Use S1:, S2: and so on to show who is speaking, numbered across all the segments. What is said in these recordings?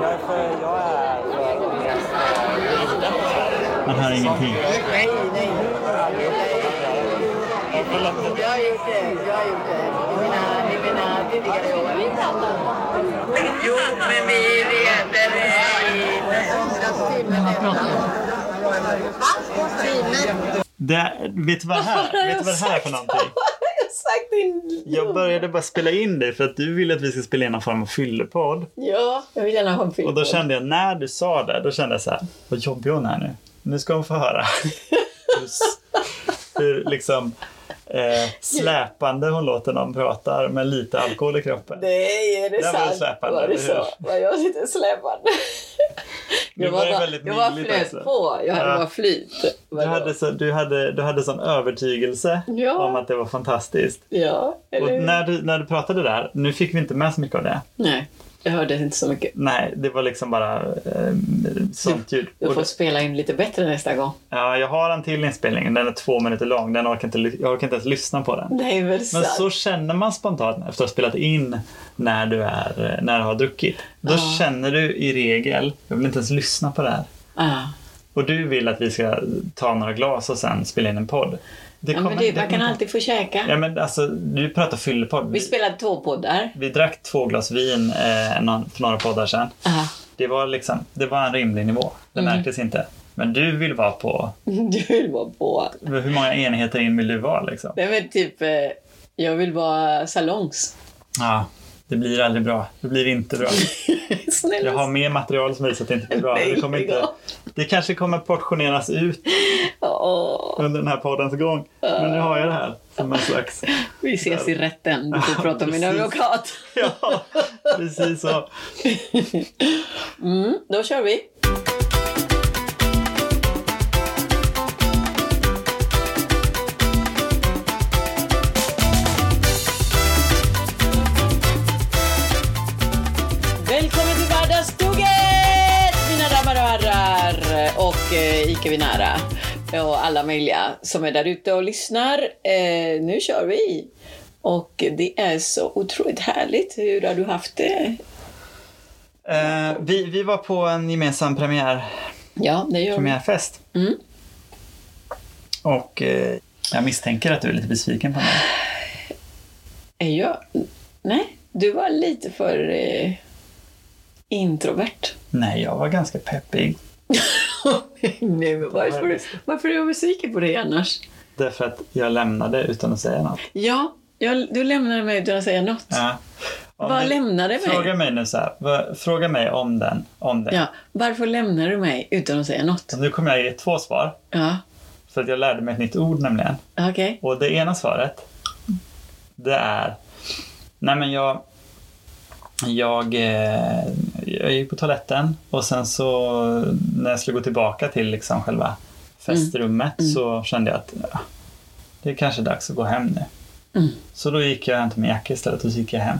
S1: därför jag är mest
S2: Man hör ingenting.
S3: Nej, nej. Jag har gjort det. Jag har gjort det. I mina, i mina tidigare år. Jo, men vi leder i timmen efter.
S2: Det, vet du vad det här, vet du vad det här är för någonting?
S4: Jag har sagt din...
S2: Jag började bara spela in dig för att du ville att vi ska spela in någon form av fyllepodd.
S4: Ja, jag vill gärna ha en film.
S2: Och då kände jag, när du sa det, då kände jag så här, vad jobbig hon är nu. Nu ska hon få höra hur, s- hur liksom eh, släpande hon låter någon pratar med lite alkohol i kroppen.
S4: Nej, är det
S2: Där var du
S4: sant?
S2: släpande,
S4: var det
S2: eller
S4: så? Var jag lite släpande?
S2: Du
S4: Jag
S2: var ju
S4: bara-
S2: väldigt
S4: Jag var
S2: mingligt
S4: flöt
S2: också.
S4: på. Jag hade
S2: Ja.
S4: bara flyt.
S2: Du hade, så, du, hade, du hade sån övertygelse
S4: Ja.
S2: om att det var fantastiskt.
S4: Ja, eller
S2: Och
S4: hur?
S2: när du, när du pratade där, nu fick vi inte med så mycket av det.
S4: Nej, jag hörde inte så mycket.
S2: Nej, det var liksom bara eh, sånt ljud.
S4: Du
S2: Och
S4: får
S2: det-
S4: spela in lite bättre nästa gång.
S2: Ja, jag har en till inspelning, den är två minuter lång. Den orkar inte, ly- jag orkar inte ens lyssna på den.
S4: Nej, väl
S2: Men
S4: sant?
S2: så känner man spontant efter att ha spelat in när du, är, eh, när du har druckit. Då känner du i regel, jag vill inte ens lyssna på det här.
S4: Ah.
S2: Och du vill att vi ska ta några glas och sen spela in en podd. Det
S4: Ja, men
S2: kommer-
S4: du,
S2: det
S4: man kan
S2: kommer-
S4: alltid få käka.
S2: Ja, men alltså, du pratar fyllepodd.
S4: Vi
S2: Vi,
S4: spelade två poddar.
S2: vi drack två glas vin eh, någon- för några poddar sedan.
S4: Ah.
S2: Det var, liksom, det var en rimlig nivå. Det
S4: Mm.
S2: märktes inte. Men du vill vara på...
S4: Du vill vara på.
S2: Hur många enheter in vill du vara? Liksom?
S4: Nej, men typ... eh, Jag vill vara salongs.
S2: Ja, det blir aldrig bra. Det blir inte bra.
S4: Snälla.
S2: Jag har mer material som visar att det inte blir bra.
S4: Nej,
S2: Det, kommer
S4: lägg
S2: inte,
S4: av.
S2: det kanske kommer portioneras ut
S4: Åh,
S2: under den här poddens gång. Men nu har jag det här som en slags...
S4: vi ses i rätten. Du får prata med min
S2: precis.
S4: advokat.
S2: Ja, precis så.
S4: Mm, då kör vi. Välkommen till Vardagsstuget, mina damer och herrar och eh, Ica Vinara och alla möjliga som är där ute och lyssnar. Eh, nu kör vi! Och det är så otroligt härligt. Hur har du haft det?
S2: Eh, vi, vi var på en gemensam premiär,
S4: Ja, det gör vi.
S2: premiärfest.
S4: Mm.
S2: Och eh, jag misstänker att du är lite besviken på mig.
S4: Är jag... Nej, du var lite för eh, introvert.
S2: Nej, jag var ganska peppig.
S4: Nej, men varför, varför är jag besviken på dig annars?
S2: Därför att jag lämnade utan att säga något.
S4: Ja, jag, du lämnade mig utan att säga något.
S2: Ja. Om
S4: Vad
S2: du-
S4: lämnade mig?
S2: Fråga mig nu så här. vad- Fråga mig om den. Om den.
S4: Ja, varför lämnar du mig utan att säga något?
S2: Så nu kommer jag ge två svar.
S4: Ja,
S2: För att jag lärde mig ett nytt ord nämligen.
S4: okej.
S2: Och det ena svaret, det är... Nej men jag... Jag, eh, jag gick på toaletten och sen så när jag skulle gå tillbaka till liksom
S4: Mm.
S2: själva festrummet så kände jag att ja, det är kanske dags att gå hem nu.
S4: Mm.
S2: Så då gick jag och hämtade min jacka istället och så gick jag hem.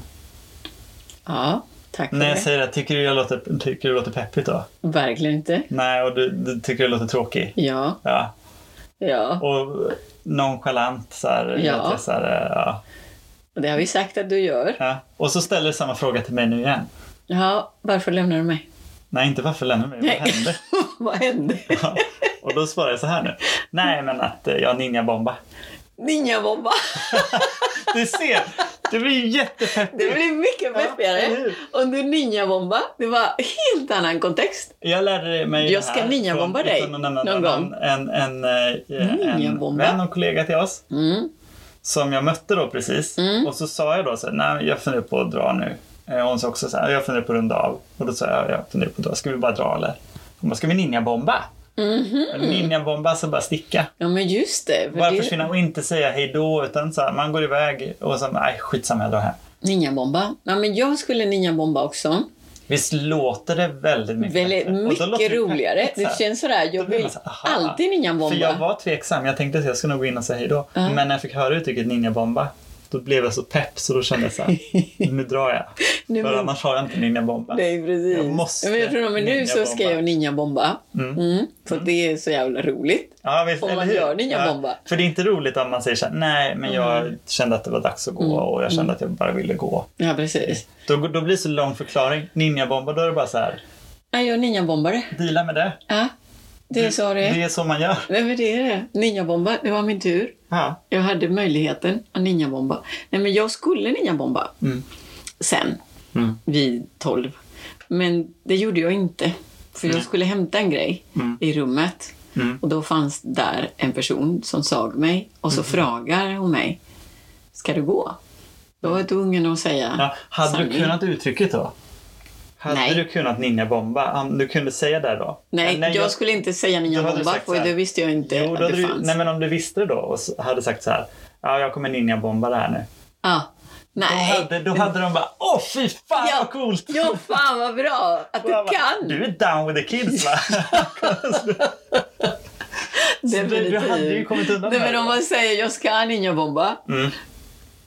S4: Ja, tack för
S2: När jag
S4: det.
S2: säger det, tycker du jag låter, tycker du låter peppigt då?
S4: Verkligen inte.
S2: Nej, och du, du tycker jag låter tråkig.
S4: Ja,
S2: Ja.
S4: ja.
S2: Och nonchalant så här.
S4: Ja.
S2: låter jag Så här ja.
S4: Det har vi sagt att du gör.
S2: Ja. Och så ställer du samma fråga till mig nu igen.
S4: Ja, varför lämnar du mig?
S2: Nej, inte varför lämnar du mig? Vad
S4: Nej.
S2: hände?
S4: Vad hände?
S2: Ja. Och då svarar jag så här nu. Nej, men att eh, jag ninjabombar.
S4: Ninjabomba!
S2: Du ser, det blir ju jättepeppigt.
S4: Det blir mycket
S2: eller
S4: peppigare.
S2: hur?
S4: Och du ninjabomba, det var helt annan kontext.
S2: Jag lärde mig
S4: Jag
S2: det här
S4: ska ninjabomba
S2: från-
S4: dig
S2: utan att nämna
S4: någon
S2: namn.
S4: gång.
S2: En, en, eh, en
S4: Ninjabomba.
S2: vän och kollega till oss
S4: Mm.
S2: som jag mötte då precis.
S4: Mm.
S2: Och så sa jag då så här, nej jag funderar på att dra nu. Eh, Hon sa också så här, jag funderar på att runda av. Och då sa jag, jag funderar på att dra, ska vi bara dra eller? Hon bara, ska vi ninjabomba? Mm-hmm. Ninjabomba, så bara sticka.
S4: Ja Mhm. men just det.
S2: Bara
S4: För det
S2: försvinna och inte säga hej då utan så här, man går iväg och så, nej skitsamma jag drar hem.
S4: ninjabomba. Ja, men jag skulle ninjabomba också.
S2: Visst låter det väldigt mycket
S4: Väldigt
S2: bättre? Och då låter
S4: mycket
S2: det
S4: roligare.
S2: peppigt så
S4: Det
S2: här.
S4: känns sådär,
S2: Då
S4: jag
S2: blir
S4: vill
S2: man så här, aha.
S4: alltid
S2: För jag
S4: ninjabomba.
S2: var tveksam, jag tänkte att jag skulle nog gå in och säga hej då.
S4: Ja.
S2: Men när jag fick höra uttrycket ninjabomba, då blev jag så pepp så då kände jag så här, nu drar jag.
S4: Nu
S2: För
S4: men-
S2: annars har jag inte ninjabomben.
S4: Nej, precis.
S2: Jag måste
S4: Ja, men jag tror men nu så ska jag ninjabomba.
S2: Mm.
S4: Mm. För det är så jävla roligt.
S2: Ja, visst,
S4: Om
S2: eller
S4: man
S2: hur?
S4: gör ninjabomba. Mm.
S2: Ja, för det är inte roligt om man säger så här, nej men jag kände att det var dags att gå och jag kände att jag bara ville gå.
S4: Ja, precis.
S2: Då, då blir det så lång förklaring. Ninjabomba, då är det bara så här,
S4: Nej, jag är ninjabombare.
S2: deala med det.
S4: Ja, det sa
S2: Det
S4: det.
S2: är så man gör.
S4: Nej, men det är det. Ninjabomba, det var min tur.
S2: Ja.
S4: Jag hade möjligheten att ninjabomba. Nej, men jag skulle ninjabomba
S2: Mm.
S4: sen
S2: Mm.
S4: vid 12. Men det gjorde jag inte. För jag skulle hämta en grej
S2: Mm.
S4: i rummet.
S2: Mm.
S4: Och då fanns där en person som såg mig och
S2: Mm.
S4: så frågar hon mig. Ska du gå? Då var jag tvungen att säga
S2: Ja, hade du
S4: sanning.
S2: kunnat uttrycket då? Hade
S4: Nej.
S2: du kunnat ninjabomba? Om du kunde säga det då?
S4: Nej, jag, skulle inte säga
S2: Då hade du
S4: ninjabomba
S2: sagt så
S4: för
S2: här.
S4: det visste jag inte
S2: Jo,
S4: att
S2: då
S4: det
S2: hade du,
S4: fanns.
S2: nej, men om du visste det då och så- hade sagt så här, ja jag kommer ninjabomba det här nu.
S4: ah, nej.
S2: Då hade, då hade de bara, åh fy fan
S4: Ja.
S2: vad coolt!
S4: Ja, fan vad bra att du
S2: Och jag bara,
S4: kan!
S2: Du är down with the kids va?
S4: Definitivt.
S2: du hade ju kommit undan
S4: Nej,
S2: med
S4: men
S2: det.
S4: om man säger jag ska ninjabomba,
S2: Mm.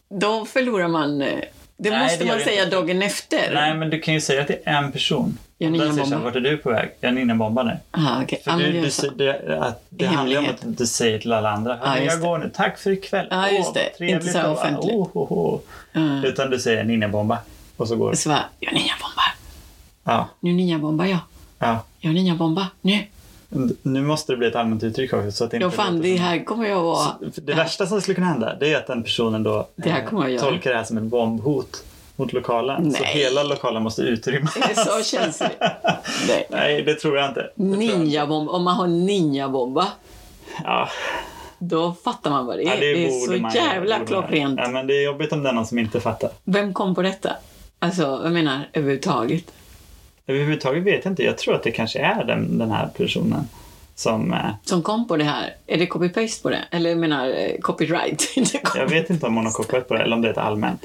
S4: då förlorar man. eh, Det
S2: Nej,
S4: måste
S2: det gör
S4: man
S2: det
S4: säga
S2: inte.
S4: dagen efter.
S2: Nej men du kan ju säga att det är en person.
S4: Jag
S2: Den säger så här,
S4: ninjabombar.
S2: vart är du på väg? Jag ninjabombar nu.
S4: Ah, okay.
S2: För
S4: ah,
S2: du,
S4: men
S2: du,
S4: gör så.
S2: säger- det, att det
S4: I
S2: handlar ju om
S4: hemlighet.
S2: att du inte säger till alla andra,
S4: Ja,
S2: "Hörni,
S4: just
S2: jag går nu, tack för ikväll.
S4: Ja,
S2: Åh,
S4: just
S2: vad
S4: det. Inte
S2: trevligt
S4: så här
S2: och va-
S4: offentligt.
S2: Oh, oh, oh.
S4: Mm.
S2: Utan du säger ninjabomba och så går du.
S4: Så bara, jag ninjabombar.
S2: Ja,
S4: Nu ninjabombar jag.
S2: ja.
S4: Jag ninjabombar. Nu.
S2: Nu måste det bli ett allmänt uttryck också. Så att det inte
S4: Jag fan,
S2: låter
S4: det
S2: som-
S4: här kommer jag att...
S2: För Det värsta som skulle kunna hända det är att den personen då
S4: Det här
S2: eh,
S4: kommer jag göra.
S2: tolkar det här som ett bombhot mot lokalen. Så
S4: Nej.
S2: hela lokalen måste utrymmas.
S4: Är det så känns det? Nej.
S2: Nej, det tror jag inte. Det tror jag inte.
S4: Ninjabomb. Om man har ninjabomba,
S2: Ja,
S4: då fattar man vad det är.
S2: ja,
S4: det, är
S2: borde man
S4: så
S2: göra,
S4: jävla
S2: borde man göra.
S4: klockrent.
S2: Ja, men det är jobbigt om det är någon som inte fattar.
S4: Vem kom på detta? Alltså, jag menar överhuvudtaget.
S2: Överhuvudtaget vet jag inte. Jag tror att det kanske är den, den här personen som... eh,
S4: Som kom på det här, är det copy-paste på det? Eller jag menar eh, copyright? Inte copy-
S2: Jag vet inte om hon har kopplat på det eller om det är ett allmänt.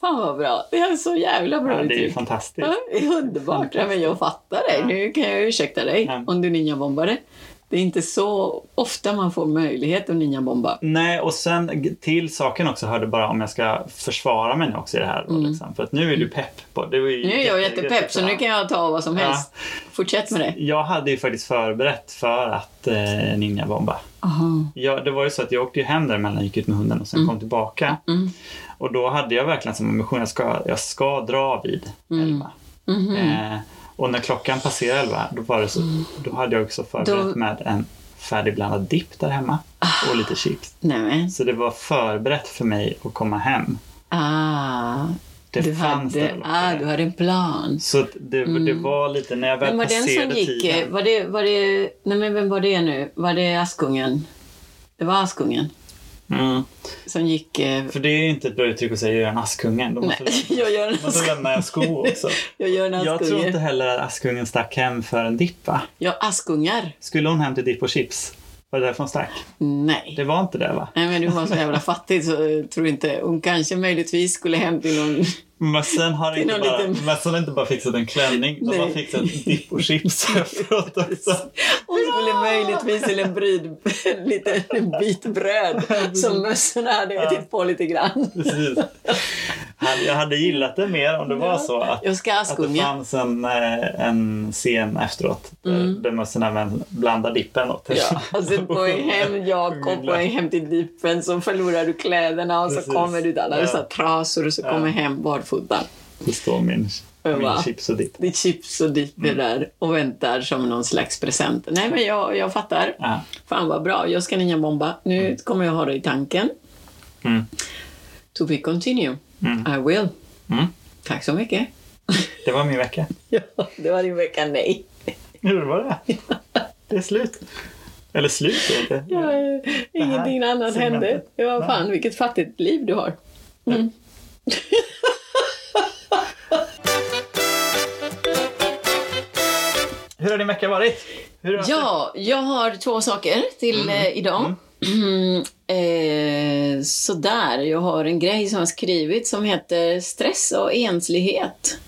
S4: Fan vad bra. Det är så jävla bra
S2: Ja, det är ju
S4: uttryck.
S2: fantastiskt.
S4: Ja, det är underbart. Ja, men jag fattar dig. Nu kan jag ursäkta dig
S2: Ja.
S4: om du ninjabombade. Det är inte så ofta man får möjlighet att ninjabomba.
S2: Nej, och sen g- till saken också hörde bara om jag ska försvara mig nu också i det här. då, Liksom. För att nu är du pepp. På, det var ju
S4: Mm. Nu är jag jättepepp så nu kan jag ta vad som
S2: Ja.
S4: helst. Fortsätt med det.
S2: Jag hade ju faktiskt förberett för att eh, ninjabomba.
S4: Aha.
S2: Jag, det var ju så att jag åkte ju hem däremellan, gick ut med hunden och sen kom tillbaka.
S4: Mm.
S2: Och då hade jag verkligen som ambition, jag ska, jag ska dra vid elva.
S4: Mhm.
S2: Eh, och när klockan passerade elva, då, var det så, då hade jag också förberett
S4: Mm. Då- Ah.
S2: med en färdigblandad dipp där hemma och lite chips.
S4: Nej men.
S2: Så det var förberett för mig att komma hem.
S4: Ah,
S2: Det
S4: du,
S2: fanns där
S4: hade,
S2: också.
S4: ah, du hade en plan.
S2: Så att det, det var lite, när jag väl
S4: Mm. Vem var den som
S2: passerade
S4: gick? eh,
S2: tiden.
S4: Var det, var det, nej men vem var det nu? Var det Askungen? Det var Askungen
S2: Mm.
S4: som gick... eh,
S2: För det är ju inte ett bra uttryck att säga göra en Askungen. Då måste
S4: Nej,
S2: lämna-
S4: jag gör en
S2: man måste lämna en sko också.
S4: Jag gör en
S2: Jag tror inte
S4: askunge.
S2: heller att Askungen stack hem för en dipp va?
S4: Ja, askungar?
S2: Skulle hon hem till dipp och chips? Var det därför hon stack?
S4: Nej.
S2: Det var inte det va?
S4: Nej, men du var så jävla fattig så jag tror inte... Hon kanske möjligtvis skulle hem till någon...
S2: Mössan har,
S4: Det är
S2: inte
S4: någon
S2: bara,
S4: liten-
S2: mössan har inte bara fixat en klänning, de har
S4: Nej.
S2: fixat dipp och chips efteråt också.
S4: Hon skulle möjligtvis till en bryd... En liten bit bröd som mössorna hade ätit på lite grann.
S2: Precis. Hade- Jag hade gillat det mer om det var så att,
S4: Jag ska
S2: att det
S4: askunga.
S2: fanns en, eh, en scen efteråt där, där mössan även blandar dippen åt
S4: Mm. Ja, och sen på väg hem, Jakob, på väg hem till dippen så förlorar du kläderna och så
S2: Precis.
S4: kommer du till alla
S2: Ja.
S4: dessa trasor och så kommer hem barfota.
S2: Det står min, min
S4: Va?
S2: chips och dipp.
S4: Ditt chips och dipp
S2: Mm.
S4: är där och väntar som någon slags present. Nej, men jag, jag fattar.
S2: Ja.
S4: Fan vad bra, jag ska ninjabomba. Nu kommer jag ha det i tanken.
S2: Mm.
S4: To be continue.
S2: Mm.
S4: I will.
S2: Mm.
S4: Tack så mycket.
S2: Det var min vecka.
S4: ja, det var din vecka nej.
S2: Hur var det? Det är slut. Eller slut är det inte.
S4: Ja, eh, ingenting annat
S2: segmentet.
S4: hände. Ja, fan vilket fattigt liv du har. Mm.
S2: Hur har din vecka varit? Hur har
S4: Ja, jag har två saker till eh, idag. eh, sådär, jag har en grej som jag har skrivit som heter Stress och enslighet.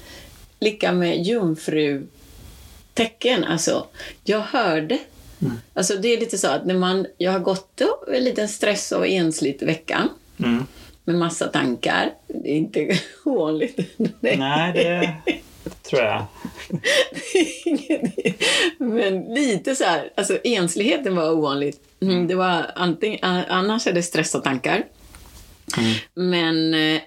S4: Lika med jungfrutecken. Alltså, jag hörde. Alltså det är lite så att när man, jag har gått upp en liten stress och ensligt vecka.
S2: Mm.
S4: med massa tankar. Det är inte ovanligt.
S2: Nej, det tror jag.
S4: Inget- Men lite så här, alltså ensligheten var ovanligt. Mm, Det var antingen, a- annars är det stress och tankar. Men eh,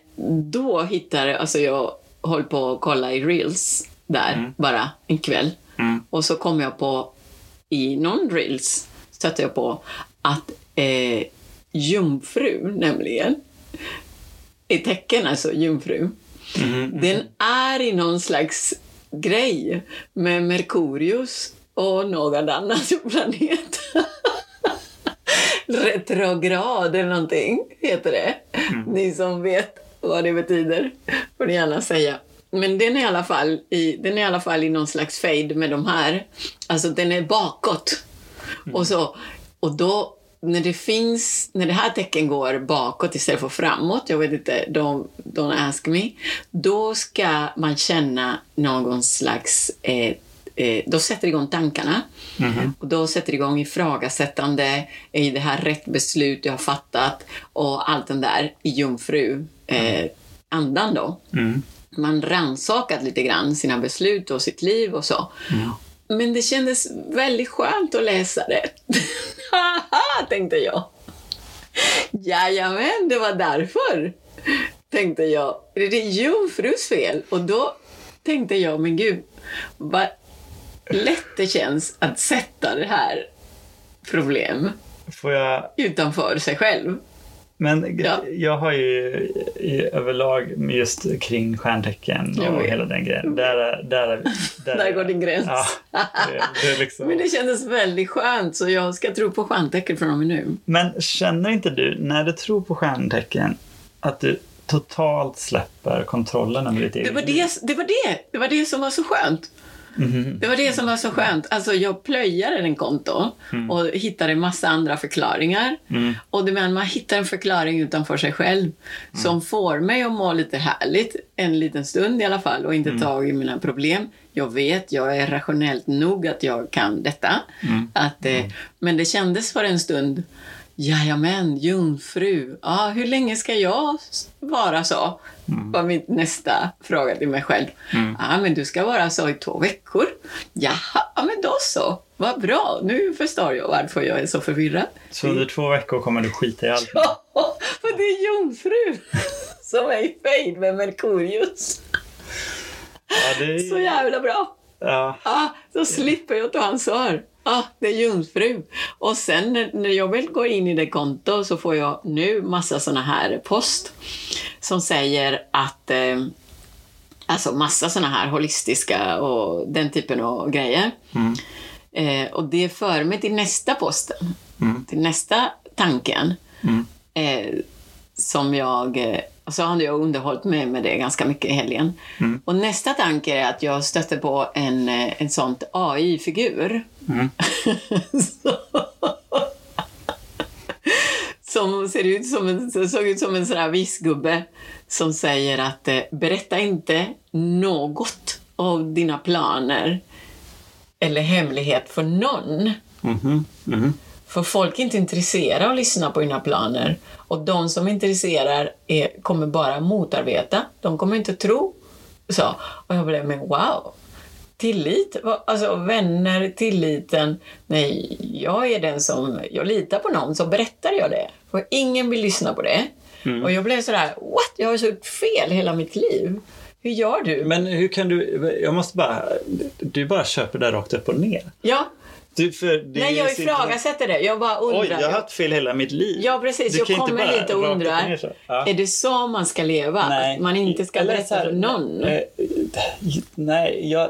S4: då hittade, alltså jag höll på att kolla i reels där bara en kväll.
S2: Mm.
S4: Och så kom jag på, i någon reels, stötte jag på att eh, jungfru nämligen, i tecken alltså jungfru,
S2: Mhm.
S4: den är i någon slags grej med Merkurius och någon annan planet. Retrograd eller någonting heter det. Ni som vet vad det betyder får ni gärna säga. Men den är, i alla fall i, den är i alla fall i någon slags fade med de här. Alltså den är bakåt. Och, så, och då när det finns, när det här tecken går bakåt istället för framåt, jag vet inte, don't, don't ask me, då ska man känna någon slags, eh, eh, då sätter det igång tankarna. Och då sätter det igång ifrågasättande, är det här rätt beslut jag har fattat? Och allt den där i jungfru eh, andan då
S2: Mm.
S4: man rannsakat lite grann sina beslut och sitt liv och så. Men det kändes väldigt skönt att läsa det. Haha, tänkte jag. Jajamän, det var därför, tänkte jag. Det är jungfrus fel. Och då tänkte jag, men gud, vad lätt det känns att sätta det här problem
S2: Får jag
S4: utanför sig själv.
S2: Men
S4: Ja.
S2: jag har ju i, överlag just kring stjärntecken
S4: Jag
S2: och
S4: vet.
S2: hela den grejen. Där, är- där, är- där,
S4: Där
S2: är-
S4: går din gräns.
S2: Ja, det, det är liksom.
S4: Men
S2: men,
S4: det kändes väldigt skönt, så jag ska tro på stjärntecken från och med nu.
S2: känner inte du, när du tror på stjärntecken, att du totalt släpper kontrollen över ditt
S4: Det
S2: eget
S4: var
S2: liv?
S4: det, det var det, det var det som var så skönt.
S2: Mhm.
S4: Det var det som var så skönt. Alltså jag plöjade den konton och hittade en massa andra förklaringar.
S2: Mm.
S4: Och det menar, man hittar en förklaring utanför sig själv som får mig att må lite härligt en liten stund i alla fall och inte
S2: Mm.
S4: ta i mina problem. Jag vet, jag är rationellt nog att jag kan detta.
S2: Mm.
S4: Att, eh, Men det kändes för en stund Jajamän, jungfru. Ja, hur länge ska jag s- vara så? var min nästa fråga till mig själv. Ja, men du ska vara så i två veckor. Jaha, ja, men då så. Vad bra, nu förstår jag varför jag är så förvirrad.
S2: Så under två veckor kommer du skita i allt?
S4: Ja, för det är jungfru som är i fejd med Merkurius.
S2: Ja, det
S4: Så
S2: är,
S4: jävla bra!
S2: ja.
S4: Ah, då slipper jag ta hans hör. Ah, det är jungfru. Och sen när- när jag väl går in i det konto så får jag nu massa såna här post som säger att eh, Alltså massa såna här holistiska och den typen av grejer. Eh, och det för mig till nästa posten, till nästa tanken. Eh, som jag, eh, och så hade jag underhållit mig med det ganska mycket i helgen. Och nästa tanke är att jag stötte på en, eh, en sånt AI-figur. Så- som ser ut som en, som såg ut som en sån här visgubbe som säger att eh, berätta inte något av dina planer eller hemlighet för någon. För folk är inte intresserade av att lyssna på dina planer. Och de som är intresserade är, kommer bara motarbeta. De kommer inte tro. Så. Och jag blev, men wow! Tillit, vad- alltså vänner, tilliten. Nej, jag är den som, jag litar på någon, så berättar jag det. För ingen vill lyssna på det.
S2: Mm.
S4: Och jag blev sådär, what? Jag har så gjort fel hela mitt liv. Hur gör du?
S2: Men hur kan du, jag måste bara, du bara köper det där rakt upp och ner.
S4: ja,
S2: Du, för det
S4: nej jag
S2: är så intressant.
S4: ifrågasätter det. Jag bara undrar.
S2: Oj, jag har haft fel hela mitt liv.
S4: Ja, precis.
S2: Du
S4: jag
S2: kan inte
S4: kommer
S2: bara
S4: lite och
S2: rakt upp ner
S4: undrar.
S2: så. Ja.
S4: Är det så man ska leva? Att man inte ska
S2: Eller så
S4: berätta
S2: här,
S4: för någon?
S2: eh, nej, jag...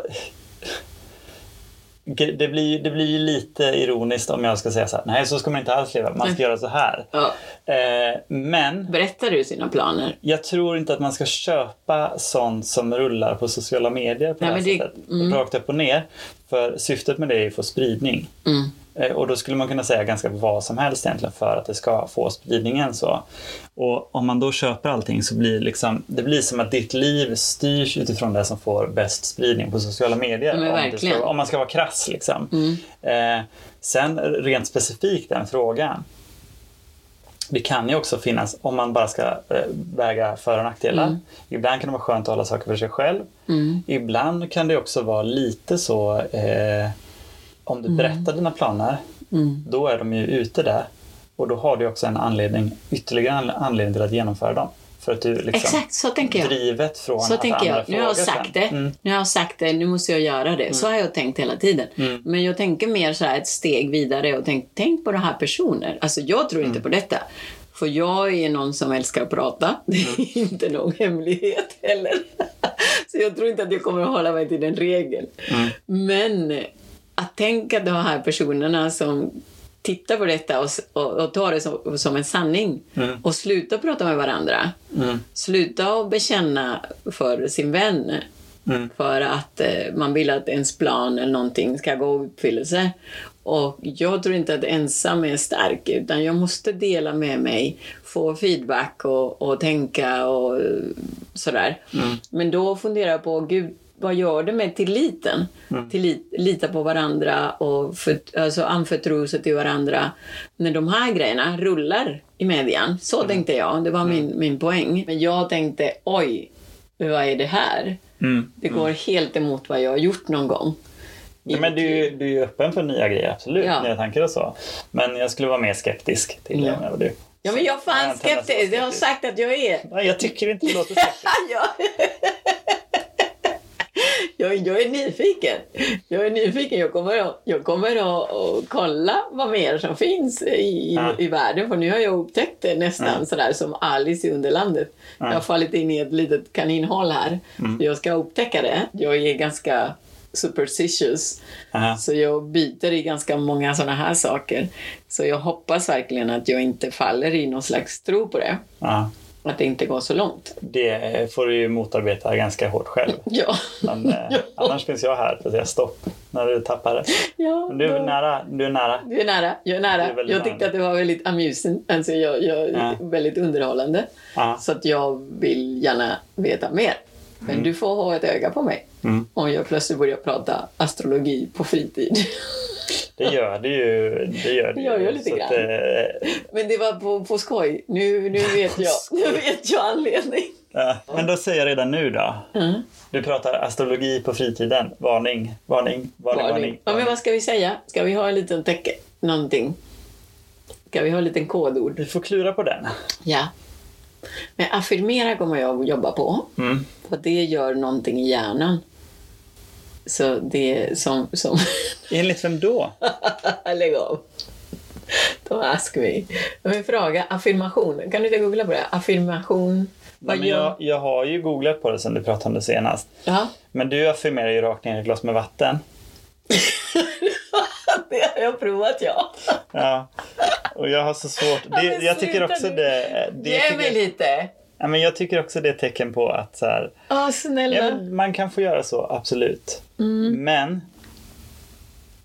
S2: Det blir, ju- det blir ju lite ironiskt om jag ska säga så här, nej så ska man inte alls leva, man ska göra så här.
S4: Ja.
S2: Eh, men
S4: Berättar du sina planer?
S2: jag tror inte att man ska köpa sånt som rullar på sociala medier på
S4: Nej,
S2: det här
S4: men det- mm.
S2: sättet. Rakt upp och ner. För syftet med det är ju att få spridning.
S4: Mm.
S2: Eh, Och då skulle man kunna säga ganska vad som helst egentligen för att det ska få spridningen. Så. Och om man då köper allting så blir liksom, det blir som att ditt liv styrs utifrån det som får bäst spridning på sociala medier.
S4: Ja, men
S2: om, det
S4: verkligen. Mm.
S2: ska, om man ska vara krass liksom. Eh, sen rent specifikt den frågan. det kan ju också finnas, om man bara ska eh, väga för och nackdelar.
S4: Mm.
S2: Ibland kan det vara skönt att hålla saker för sig själv. Ibland kan det också vara lite så, eh, om
S4: Mm.
S2: du berättar dina planer, då är de ju ute där. Och då har du också en anledning, ytterligare en anledning till att genomföra dem. För att du liksom
S4: Exakt så tänker jag.
S2: drivet från
S4: Så
S2: att
S4: tänker
S2: andra
S4: jag. Nu har jag
S2: frågar
S4: sagt
S2: sen.
S4: det.
S2: Mm.
S4: Nu har jag sagt det. Nu måste jag göra det. Så har jag tänkt hela tiden.
S2: Mm.
S4: Men jag tänker mer så här ett steg vidare och tänk, tänk på den här personen. Alltså jag tror
S2: Mm.
S4: inte på detta. För jag är någon som älskar att prata. Det är
S2: Mm.
S4: inte någon hemlighet heller. Så jag tror inte att jag kommer att hålla mig till den regeln.
S2: Mm.
S4: Men att tänka de här personerna som tittar på detta och, s- och, och tar det som, som en sanning
S2: Mm.
S4: och sluta prata med varandra.
S2: Mm.
S4: Sluta att bekänna för sin vän
S2: Mm.
S4: för att eh, man vill att ens plan eller någonting ska gå i uppfyllelse. Och jag tror inte att ensam är stark, utan jag måste dela med mig, få feedback och, och tänka och eh, sådär.
S2: Mm.
S4: Men då funderar jag på, gud, vad gör det med tilliten?
S2: Mm.
S4: Tillit, lita på varandra och för, alltså anförtro sig till varandra. När de här grejerna rullar i median, så
S2: Mm.
S4: tänkte jag, det var min, min poäng. Men jag tänkte, oj, vad är det här?
S2: Mm.
S4: Det går helt emot vad jag har gjort någon gång.
S2: Ja, men du, du är ju öppen för nya grejer, absolut.
S4: Ja.
S2: Nya tankar och så. Men jag skulle vara mer skeptisk till det
S4: Ja.
S2: än vad du.
S4: Ja, men jag är
S2: Jag har
S4: fan
S2: en tendens att vara
S4: skeptisk. Jag har sagt att jag är.
S2: Nej, jag tycker inte det låter skeptiskt.
S4: Jag, jag, jag är nyfiken. Jag är nyfiken. Jag kommer att, jag kommer att, att kolla vad mer som finns i,
S2: Ja.
S4: i världen. För nu har jag upptäckt det nästan sådär som Alice i Underlandet. Jag har fallit in i ett litet kaninhål här. Jag ska upptäcka det. Jag är ganska superstitious.
S2: Aha.
S4: Så jag byter i ganska många sådana här saker. Så jag hoppas verkligen att jag inte faller i någon slags tro på det.
S2: Ja.
S4: Att det inte går så långt.
S2: Det får du ju motarbeta ganska hårt själv.
S4: Ja.
S2: Men, eh, annars finns jag här för att säga stopp när du tappar det.
S4: ja
S2: Men du är
S4: ja.
S2: nära. Du är nära.
S4: Du är nära. Jag är nära.
S2: Du är väldigt
S4: jag tyckte
S2: nära.
S4: att det var väldigt amusing. Alltså jag, jag,
S2: Ja.
S4: Väldigt underhållande.
S2: Ja.
S4: Så att jag vill gärna veta mer. Men du får ha ett öga på mig.
S2: Mm.
S4: Om jag plötsligt börjar prata astrologi på fritid.
S2: Det gör det ju. Det gör det
S4: Det gör jag lite
S2: Så att,
S4: grann.
S2: eh,
S4: Men det var på, på skoj. Nu, nu, vet jag, nu vet jag anledning.
S2: ja. Men då säger jag redan nu då.
S4: Mm.
S2: Du pratar astrologi på fritiden. Varning, varning, varning, varning.
S4: Varning. Ja, men vad ska vi säga? Ska vi ha en liten täcke? Någonting? Ska vi ha en liten kodord?
S2: Vi får klura på den.
S4: Ja. Men affirmera kommer jag att jobba på.
S2: Mm.
S4: För det gör någonting i hjärnan. Så det är som... som
S2: Enligt vem då?
S4: Lägg av. Don't ask me. Men fråga, affirmation. Kan du inte googla på det? Affirmation.
S2: Nej, men jag, jag har ju googlat på det sen du pratade om det senast.
S4: Ja,
S2: Men du affirmerar ju rakt ner i ett glas med vatten.
S4: det har jag provat ja.
S2: Ja. Och jag har så svårt.
S4: men
S2: Det, jag tycker
S4: sluta
S2: också
S4: nu.
S2: det... eh, det
S4: Ge mig
S2: tycker,
S4: lite.
S2: ja, men jag tycker också det är ett tecken på att så här,
S4: Åh,
S2: ja,
S4: snälla.
S2: men man kan få göra så, absolut.
S4: Mm.
S2: Men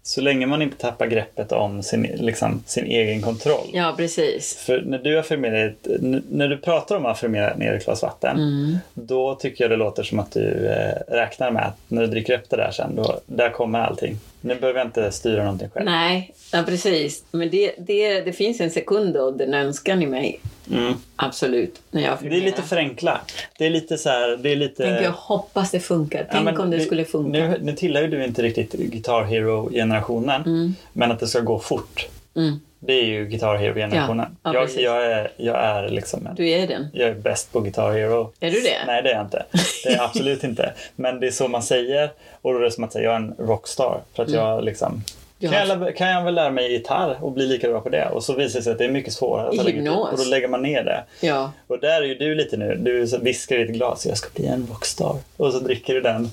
S2: så länge man inte tappar greppet om sin, liksom, sin egen kontroll.
S4: Ja, precis.
S2: För när du, affirmerar, ett- n- när du pratar om att affirmera ner ett glas vatten,
S4: Mm.
S2: då tycker jag det låter som att du eh, räknar med att när du dricker upp det där sen, då, där kommer allting. Nu behöver jag inte styra någonting själv.
S4: Nej, ja, precis. Men det, det, det finns en sekund och den önskan i mig.
S2: Mm.
S4: Absolut. När jag
S2: Det är lite förenkla. Det är lite så här, det är lite...
S4: Tänk, jag hoppas det funkar.
S2: Ja,
S4: Tänk
S2: men
S4: om det
S2: vi-
S4: skulle funka.
S2: Nu, nu tillhör ju du inte riktigt Guitar Hero-generationen, men att det ska gå fort.
S4: Mm,
S2: Det är ju Guitar Hero-generationen.
S4: Ja, ja,
S2: jag,
S4: precis.
S2: jag, är, jag är liksom en,
S4: du är den.
S2: jag är bäst på Guitar Hero.
S4: Är du det?
S2: Nej, det är jag inte. Det är jag absolut inte. Men det är så man säger. Och då är det som att säga, jag är en rockstar. För att jag liksom...
S4: Mm. Du
S2: Kan
S4: har-
S2: jag, lä- kan jag väl lära mig gitarr och bli lika bra på det? Och så visar det sig att det är mycket svårare. att
S4: I
S2: ta lägga ut-
S4: hypnos.
S2: Och då lägger man ner det.
S4: Ja.
S2: Och där är ju du lite nu. Du så viskar i ett glas, jag ska bli en rockstar. Och så dricker du den.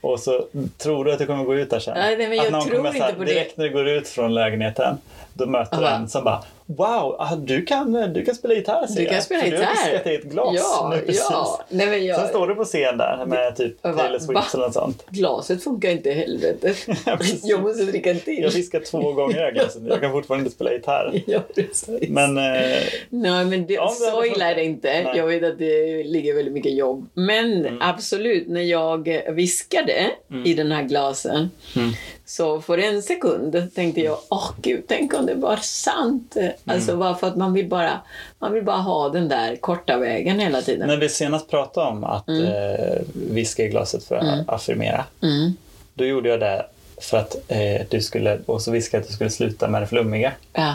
S2: Och så tror du att du kommer gå ut där sen.
S4: Nej, nej, men
S2: att
S4: jag tror
S2: kommer
S4: inte på det.
S2: direkt när du går ut från lägenheten. Då möter du
S4: Aha.
S2: en som bara Wow, ah, du kan, du kan spela gitarr ser
S4: Du kan
S2: jag.
S4: spela
S2: För Du har
S4: gitarr.
S2: viskat i ett glas
S4: Ja,
S2: nu precis.
S4: ja. Nej, men jag-
S2: Sen står du på scen där med typ
S4: Jag bara,
S2: Taylor
S4: va?
S2: Swift eller något sånt.
S4: Glaset funkar inte i helvete.
S2: Ja, precis.
S4: jag måste dricka en till.
S2: Jag viskar två gånger i det här glaset. Jag kan fortfarande inte spela gitarr.
S4: Ja, precis.
S2: Men eh,
S4: Nej, men det,
S2: Om det
S4: så
S2: hade
S4: illa är det
S2: funkat.
S4: inte.
S2: Nej. Mm.
S4: Jag vet att det ligger väldigt mycket jobb.
S2: Mm.
S4: Men absolut, när jag viskade i den här glasen Så för en sekund tänkte jag, åh gud, tänk om det var sant.
S2: Mm.
S4: Alltså bara för att man vill bara, man vill bara ha den där korta vägen hela tiden.
S2: När vi senast pratade om att eh, viska i glaset för att affirmera,
S4: Mm.
S2: då gjorde jag det för att eh, du skulle, och så viskade jag att du skulle sluta med det flummiga.
S4: Ja,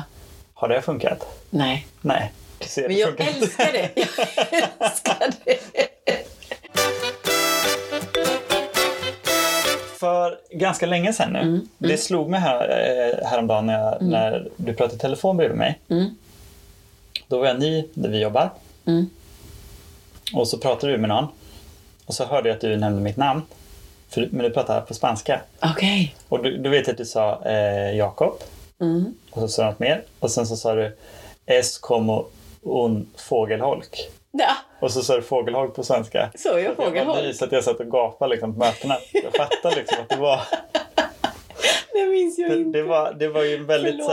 S2: Har det funkat?
S4: nej.
S2: Nej. Du ser,
S4: Men
S2: det
S4: jag
S2: funkar inte.
S4: älskar det. Jag älskar det.
S2: För ganska länge sedan
S4: Mm,
S2: nu, det slog mig här, eh, häromdagen när, jag, när du pratade i telefon bredvid mig.
S4: Mm.
S2: Då var jag ny där vi jobbar
S4: Mm.
S2: och så pratade du med någon. Och så hörde jag att du nämnde mitt namn, för, men du pratade på spanska.
S4: Okej.
S2: Och du, du vet att du sa eh, Jakob
S4: Mm.
S2: och så sa du något mer. Och sen så sa du Es como un fågelholk.
S4: Ja,
S2: Och så sa du fågelholk på svenska.
S4: så jag frågar
S2: Jag var ny,
S4: honom.
S2: så att jag satt och gapade liksom, på mötena. Jag fattade liksom att det var...
S4: Det minns jag
S2: Det,
S4: inte.
S2: det, var, det var ju en väldigt
S4: Förlåt.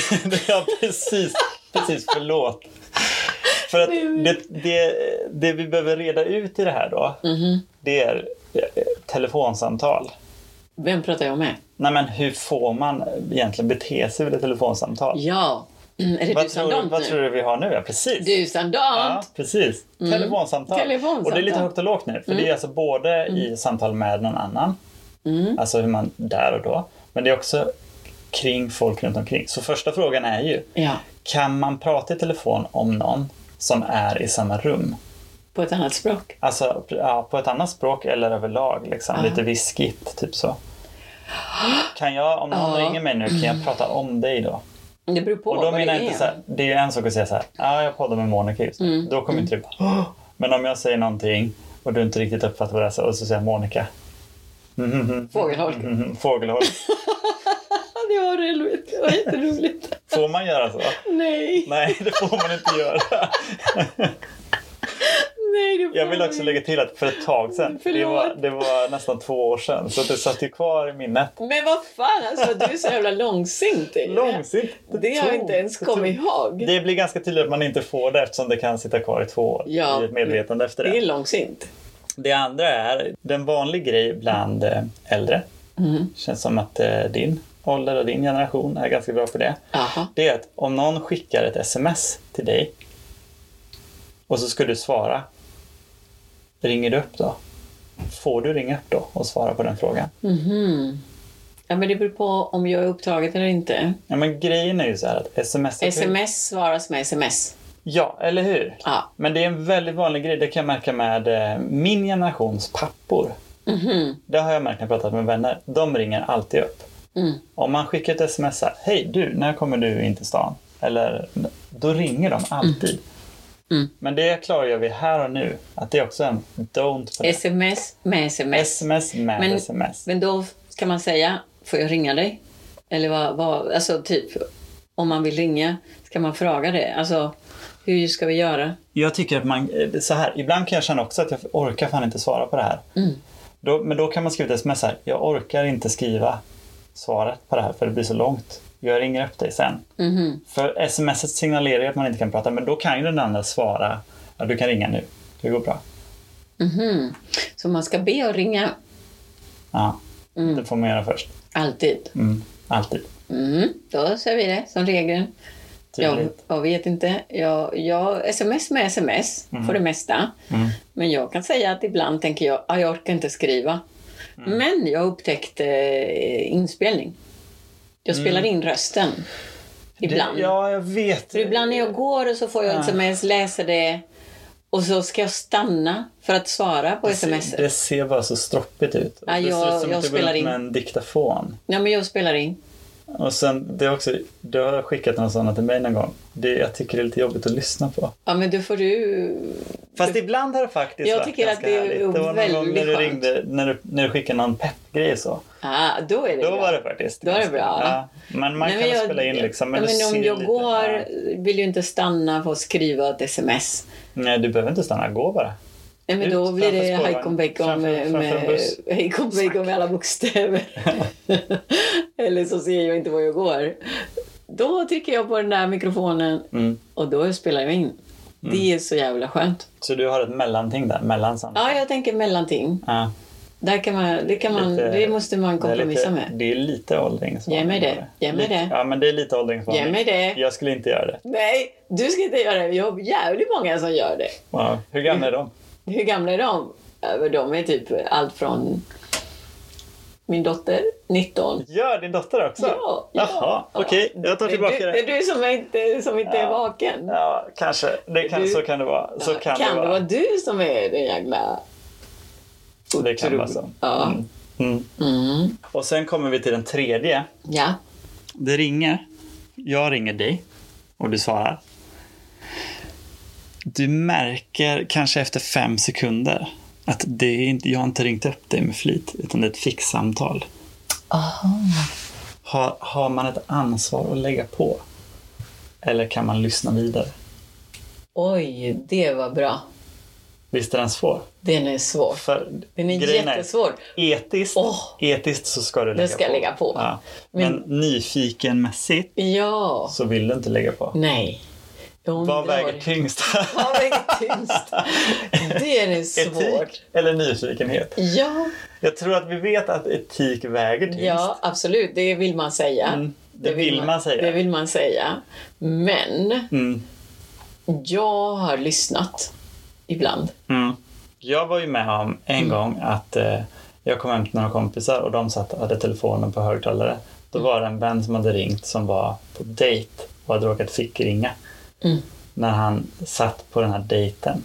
S2: så här... ja, precis, precis. Förlåt. För att det, det, det vi behöver reda ut i det här då,
S4: Mhm.
S2: det är eh, telefonsamtal.
S4: Vem pratar jag med?
S2: Nej, men hur får man egentligen bete sig vid ett telefonsamtal?
S4: Ja. Mm, är det
S2: Vad
S4: du
S2: tror,
S4: som
S2: vad tror du vi har nu? Ja, precis.
S4: Du
S2: Ja,
S4: Sandant!
S2: precis. Telefonsamtal.
S4: Mm. Telefonsamtal. Mm.
S2: Och det är lite högt och lågt nu. För det är alltså både i samtal med någon annan,
S4: Mm.
S2: alltså hur man där och då, men det är också kring folk runt omkring. Så första frågan är ju,
S4: Ja,
S2: kan man prata i telefon om någon som är i samma rum?
S4: på ett annat språk.
S2: Alltså ja, på ett annat språk eller överlag, liksom, lite viskigt, typ så. Kan jag, om någon
S4: Ja.
S2: ringer mig nu, kan jag prata om dig då?
S4: Det beror på
S2: Och då
S4: vad
S2: menar
S4: det
S2: jag
S4: är.
S2: inte så här, det är ju en sak att säga så här, ja ah, jag poddar med Monica just nu.
S4: Mm.
S2: Då kommer inte du bara, "Åh!" men om jag säger någonting och du inte riktigt uppfattar vad det är så- och så säger jag Monica, Mm,
S4: Fågelholk.
S2: mhm, fågelholk.
S4: Ja, det var roligt. Det var jätteroligt.
S2: Får man göra så?
S4: Nej,
S2: Nej, det får man inte göra.
S4: nej. Det får
S2: Jag vill
S4: man
S2: också
S4: inte.
S2: lägga till att för ett tag sedan, det var,
S4: Förlåt.
S2: det var nästan två år sedan, så det satt ju kvar i minnet.
S4: Men vad fan, alltså du är så jävla långsint. Ingrid.
S2: Långsint.
S4: Det har jag
S2: tog-
S4: inte ens
S2: det
S4: kommit
S2: tog-
S4: ihåg. Det,
S2: Det blir ganska tydligt att man inte får det eftersom det kan sitta kvar i två år
S4: Ja.
S2: i ett medvetande efter
S4: är
S2: det.
S4: långsint.
S2: Det andra är, den vanlig grej bland eh, äldre, känns som att eh, din ålder och din generation är ganska bra på det.
S4: Jaha.
S2: Det är att om någon skickar ett sms till dig och så ska du svara, ringer du upp då? Får du ringa upp då och svara på den frågan?
S4: Ja, men det beror på om jag är upptaget eller inte.
S2: Ja, men grejen är ju så här att sms...
S4: Sms svaras med sms.
S2: Ja, eller hur?
S4: Ja.
S2: Men det är en väldigt vanlig grej, det kan jag märka med eh, min generations pappor. Det har jag märkt när jag pratat med vänner. De ringer alltid upp.
S4: Mm.
S2: Om man skickar ett sms här, hej du, när kommer du in till stan? Eller, då ringer de alltid.
S4: Mm.
S2: Men det klargör vi här och nu, att det är också en don't på det.
S4: Sms med sms.
S2: sms med
S4: Men-
S2: sms.
S4: Men då ska man säga, får jag ringa dig? Eller vad, vad, alltså typ, om man vill ringa, ska man fråga det? Alltså, hur ska vi göra?
S2: Jag tycker att man, eh, så här, ibland kan jag känna också att jag orkar fan inte svara på det här.
S4: Mm.
S2: Då, men då kan man skriva ett sms här, jag orkar inte skriva svaret på det här för det blir så långt. Jag ringer upp dig sen.
S4: Mm-hmm.
S2: För smset signalerar ju att man inte kan prata, men då kan ju den andra svara, ja, du kan ringa nu, det går bra.
S4: Mhm. Så man ska be och ringa
S2: Ja,
S4: Mm.
S2: det får man göra först.
S4: alltid.
S2: Mm. Alltid.
S4: Mm. Då ser vi det som regel. Jag,
S2: Tydligt.
S4: jag vet inte. Jag, jag sms med sms
S2: Mm.
S4: för det mesta. Men jag kan säga att ibland tänker jag att jag orkar inte skriva.
S2: Mm.
S4: Men jag upptäckte eh, inspelning. Jag spelar in rösten. Ibland.
S2: Mm. Det, ja, jag vet.
S4: För ibland när jag går och så får jag ett sms, läser det och så ska jag stanna för att svara på sms.
S2: Det ser bara så stroppigt ut.
S4: Ja,
S2: det ser
S4: jag-
S2: ut som
S4: jag
S2: att du går
S4: spelar
S2: runt
S4: in.
S2: med en diktafon.
S4: Ja, men jag spelar in.
S2: Och sen, det är också, du har skickat någon sån till mig någon gång. Det, jag tycker det är lite jobbigt att lyssna på.
S4: Ja, men då får du...
S2: Fast ibland har det faktiskt
S4: Jag
S2: varit
S4: tycker
S2: ganska
S4: att det är
S2: härligt. Det var någon gång
S4: väldigt
S2: när du,
S4: skönt.
S2: ringde, när du, när du skickade någon peppgrej så.
S4: Ah, då är det
S2: Då
S4: bra.
S2: var det faktiskt
S4: Då är det
S2: ganska-
S4: bra.
S2: Ja, men man
S4: Nej,
S2: kan
S4: men jag-
S2: spela in liksom. Men,
S4: ja,
S2: det
S4: men om
S2: ser
S4: jag
S2: lite,
S4: går
S2: ja.
S4: vill ju inte stanna för att skriva ett sms.
S2: Nej, du behöver inte stanna. Gå bara.
S4: Nej, men
S2: Ut
S4: då blir
S2: framför
S4: det
S2: spårvagn,
S4: hajkon bacon
S2: framför-
S4: med,
S2: framför en
S4: med,
S2: buss.
S4: hejkon bacon med alla bokstäver. Eller så ser jag inte var jag går. Då trycker jag på den där mikrofonen
S2: Mm.
S4: och då spelar jag in. Det är så jävla skönt.
S2: Så du har ett mellanting där, mellan samtal.
S4: Ja, jag tänker mellanting.
S2: Ja.
S4: Där kan man, det, kan man,
S2: Lite-
S4: det måste man
S2: det är lite,
S4: kompromissa med.
S2: Det är lite åldringsvarning.
S4: Ge mig det.
S2: bara.
S4: Ge mig
S2: Lite-
S4: det.
S2: Ja, men det är lite åldringsvarning.
S4: Ge mig det.
S2: Jag skulle inte göra det.
S4: Nej, du ska inte göra det. Vi har jävligt många som gör det.
S2: Ja. Hur gamla är de?
S4: Hur gamla är de? Ja, men De är typ allt från min dotter, 19.
S2: Gör din dotter också?
S4: Ja, ja.
S2: Jaha, okej. Jag tar tillbaka
S4: det. är
S2: det.
S4: du- Det är du som inte, som inte är
S2: Ja.
S4: vaken.
S2: Ja, kanske. Det kan,
S4: Du-
S2: så kan det vara. Så kan,
S4: det vara du som är den jävla...
S2: Det kan
S4: Otro-
S2: vara så.
S4: Ja.
S2: Mm. Mm.
S4: Mm.
S2: Och sen kommer vi till den tredje.
S4: ja.
S2: Det ringer. Jag ringer dig och du svarar. Du märker kanske efter fem sekunder att det är inte, jag har inte ringt upp dig med flit, utan det är ett fixsamtal. Har, har man ett ansvar att lägga på? Eller kan man lyssna vidare?
S4: Oj, det var bra.
S2: Visst är den svår?
S4: Den är svår.
S2: För
S4: Den är
S2: grejen
S4: jättesvår.
S2: Etiskt,
S4: Åh.
S2: etiskt så ska du lägga
S4: ska jag
S2: på.
S4: lägga på.
S2: Ja. Men, nyfikenmässigt
S4: Ja.
S2: så vill du inte lägga på.
S4: Nej. De
S2: Vad
S4: drar-
S2: väger tyngst?
S4: Vad väger tyngst? Det är det svårt.
S2: Etik eller nyfikenhet?
S4: Ja,
S2: Jag tror att vi vet att etik väger tyngst.
S4: ja, absolut. Det vill man säga.
S2: Mm, det vill man säga.
S4: Det vill man säga. Men
S2: Mm,
S4: jag har lyssnat ibland.
S2: mm. Jag var ju med om en
S4: Mm.
S2: gång att eh, jag kom hem till några kompisar och de satt, hade telefonen på högtalare. Då
S4: Mm.
S2: var det en vän som hade ringt som var på dejt och hade råkat fickringa.
S4: Mm.
S2: När han satt på den här dejten.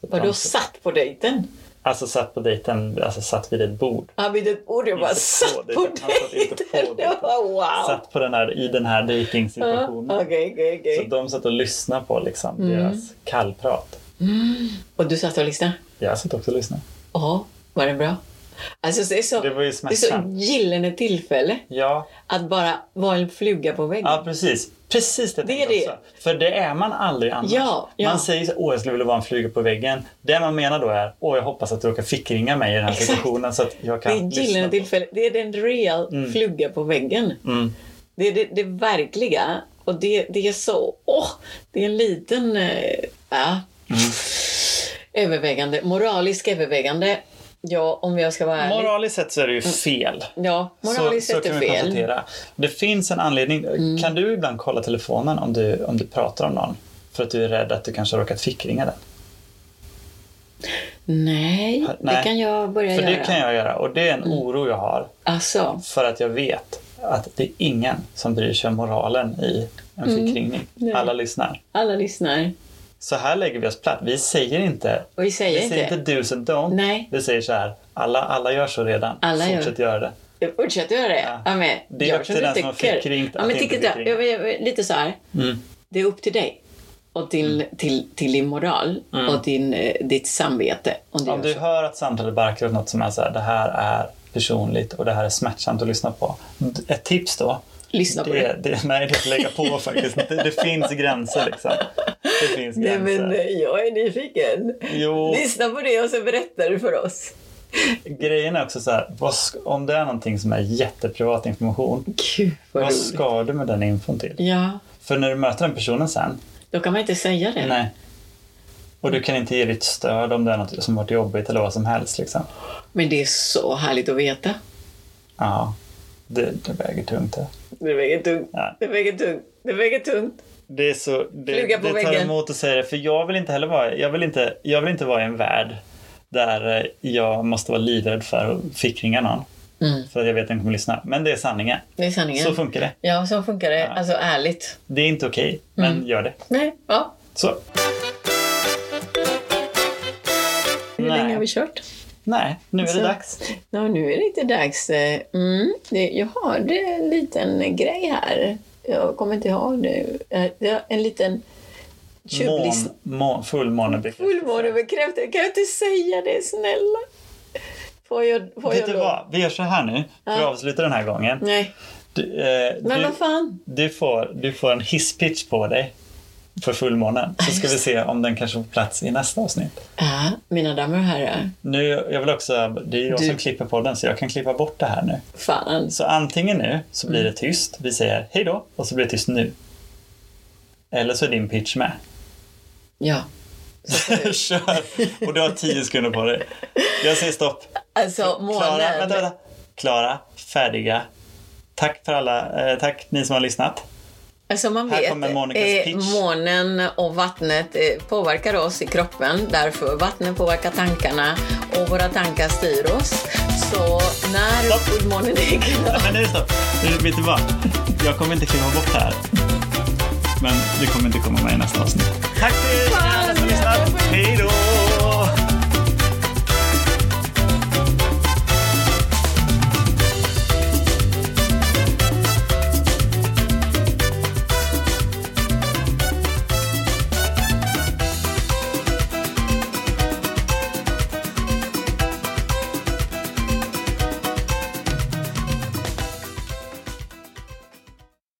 S2: Så att
S4: Vadå
S2: de-
S4: satt på dejten?
S2: Alltså satt på dejten, alltså satt vid ett bord.
S4: Ja, vid ett bord. Jag bara
S2: Inte på
S4: satt
S2: det,
S4: på
S2: utan han satt inte på
S4: dejten.
S2: det,
S4: Jag
S2: utan
S4: bara wow.
S2: Satt på den här, i den här
S4: Ja,
S2: dejtingsituationen.
S4: Okej, okej,
S2: Så
S4: okej. Mm.
S2: de satt och lyssnade på liksom deras kallprat.
S4: Och du satt och lyssnade?
S2: Jag satt också och lyssnade.
S4: Ja, var det bra? Alltså, det är så,
S2: Det var ju
S4: det är så
S2: smärtsamt.
S4: gyllene tillfälle
S2: Ja,
S4: att bara vara en fluga på väggen.
S2: ja precis. Precis det,
S4: Det är
S2: tänkte jag
S4: det.
S2: också. För det är man aldrig annars.
S4: Ja, ja.
S2: Man säger så, åh jag skulle vilja vara en fluga på väggen. Det man menar då är, åh jag hoppas att du råkar fickringa mig i den här
S4: Exakt.
S2: situationen så att jag
S4: det
S2: kan
S4: är ett gyllene
S2: lyssna. på-
S4: tillfälle. Det är den real fluga på väggen.
S2: Mm.
S4: Det är det, det verkliga. Och det, det är så... Åh! Det är en liten... Eh, ja.
S2: Mm.
S4: Övervägande. Moralisk övervägande. Ja, om jag ska vara ärlig.
S2: Moraliskt sett så är det ju fel.
S4: ja, Mm. moraliskt
S2: så,
S4: sett
S2: så kan
S4: är
S2: vi
S4: fel. Mm.
S2: konstatera. Det finns en anledning. Kan du ibland kolla telefonen om du, om du pratar om någon? För att du är rädd att du kanske har råkat fickringa den.
S4: Nej, det
S2: Nej.
S4: kan jag börja
S2: För det
S4: göra. Mm.
S2: kan jag göra och det är en oro jag har.
S4: Alltså,
S2: För att jag vet att det är ingen som bryr sig om moralen i en fickringning.
S4: Mm. Nej.
S2: Alla lyssnar.
S4: alla lyssnar.
S2: Så här lägger vi oss platt. Vi säger inte
S4: Och vi säger
S2: vi säger inte
S4: inte.
S2: do's and don't.
S4: Nej.
S2: Vi säger så här, alla, alla gör så redan.
S4: Alla gör.
S2: Fortsätt göra det.
S4: Fortsätt göra det.
S2: Ja.
S4: Ja. men,
S2: Det är
S4: gör
S2: upp
S4: som
S2: till
S4: du
S2: den som har
S4: tycker.
S2: fickringt
S4: Ja,
S2: att
S4: men
S2: inte
S4: tycker jag,
S2: fickringa.
S4: jag, jag, lite så här.
S2: Mm.
S4: Det är upp till dig. Och till, till, till din moral
S2: Mm.
S4: och din, eh, ditt samvete. Om du
S2: Om
S4: gör
S2: du
S4: så.
S2: hör att samtalet barkar åt något som är så här, det här är personligt och det här är smärtsamt att lyssna på. Ett tips då?
S4: Lyssna på
S2: det. det nej, det är att lägga på faktiskt. Det, det finns gränser liksom. Det finns
S4: Nej,
S2: gränser.
S4: men eh, jag är nyfiken.
S2: Jo.
S4: Lyssna på det och så berättar du för oss.
S2: Grejen är också så här, vad sk- om det är någonting som är jätteprivat information,
S4: Gud, vad
S2: vad
S4: roligt.
S2: ska du med den infon till?
S4: Ja,
S2: För när du möter den personen sen,
S4: då kan man inte säga det.
S2: nej. Och du kan inte ge ditt stöd om det är något som varit jobbigt eller vad som helst. Liksom.
S4: Men det är så härligt att veta.
S2: Ja, det, det väger tungt. Det.
S4: Det väger tungt.
S2: Ja.
S4: Det väger tungt. Det väger tungt.
S2: Det är så, det,
S4: Fluga på
S2: det tar
S4: väggen.
S2: emot att säga det, för jag vill inte heller vara, jag vill inte, jag vill inte vara i en värld där eh, jag måste vara livrädd för att fickringa någon.
S4: Mm.
S2: För att jag vet att den kommer lyssna. Men det är sanningen.
S4: Det är sanningen.
S2: Så funkar det.
S4: ja, så funkar det. Alltså ärligt.
S2: Det är inte okej, men
S4: Mm.
S2: gör det.
S4: Nej, ja.
S2: Så.
S4: Hur länge har vi
S2: Nej,
S4: kört?
S2: nej, nu är
S4: Så-
S2: det dags.
S4: Ja, nu är det inte dags. eh, Mm, det, jag hörde en liten grej här. Jag kommer inte ihåg nu. Eh, det var En liten tjuvlyssn...
S2: Mån, mån, fullmånebekräftelse.
S4: Fullmånebekräftelse. Kan jag inte säga det, snälla? Får jag, får
S2: Vet
S4: jag
S2: du
S4: lov?
S2: vad? Vi gör så här nu, för att
S4: Ja.
S2: avsluta den här gången.
S4: Nej,
S2: Du, eh,
S4: men
S2: du,
S4: vad fan.
S2: du, får, du får en hisspitch på dig för fullmånen. Så ska vi se om den kanske får plats i nästa avsnitt.
S4: Ja, mina damer och herrar.
S2: Nu, jag vill också, det är jag
S4: Du-
S2: som klipper podden, så jag kan klippa bort det här nu.
S4: Fan.
S2: Så antingen nu så blir
S4: Mm.
S2: det tyst, vi säger hej då, och så blir det tyst nu. Eller så är din pitch med.
S4: Ja.
S2: Kör! Och du har tio sekunder på dig. Jag säger stopp.
S4: Alltså
S2: Klara,
S4: månen.
S2: vänta, vänta. Klara, färdiga. Tack för alla, eh, tack ni som har lyssnat.
S4: Alltså man
S2: Här
S4: vet, eh,
S2: kommer Monikas pitch.
S4: månen och vattnet eh, påverkar oss i kroppen. Därför vattnet påverkar tankarna och våra tankar styr oss. Så när
S2: Stopp.
S4: fullmånen är
S2: Nej,
S4: klar...
S2: men nu är det stopp. Nu, Vet du vad? Jag kommer inte klippa bort det här. Men det kommer inte komma med i nästa avsnitt. Tack till alla som har lyssnat. Hej då!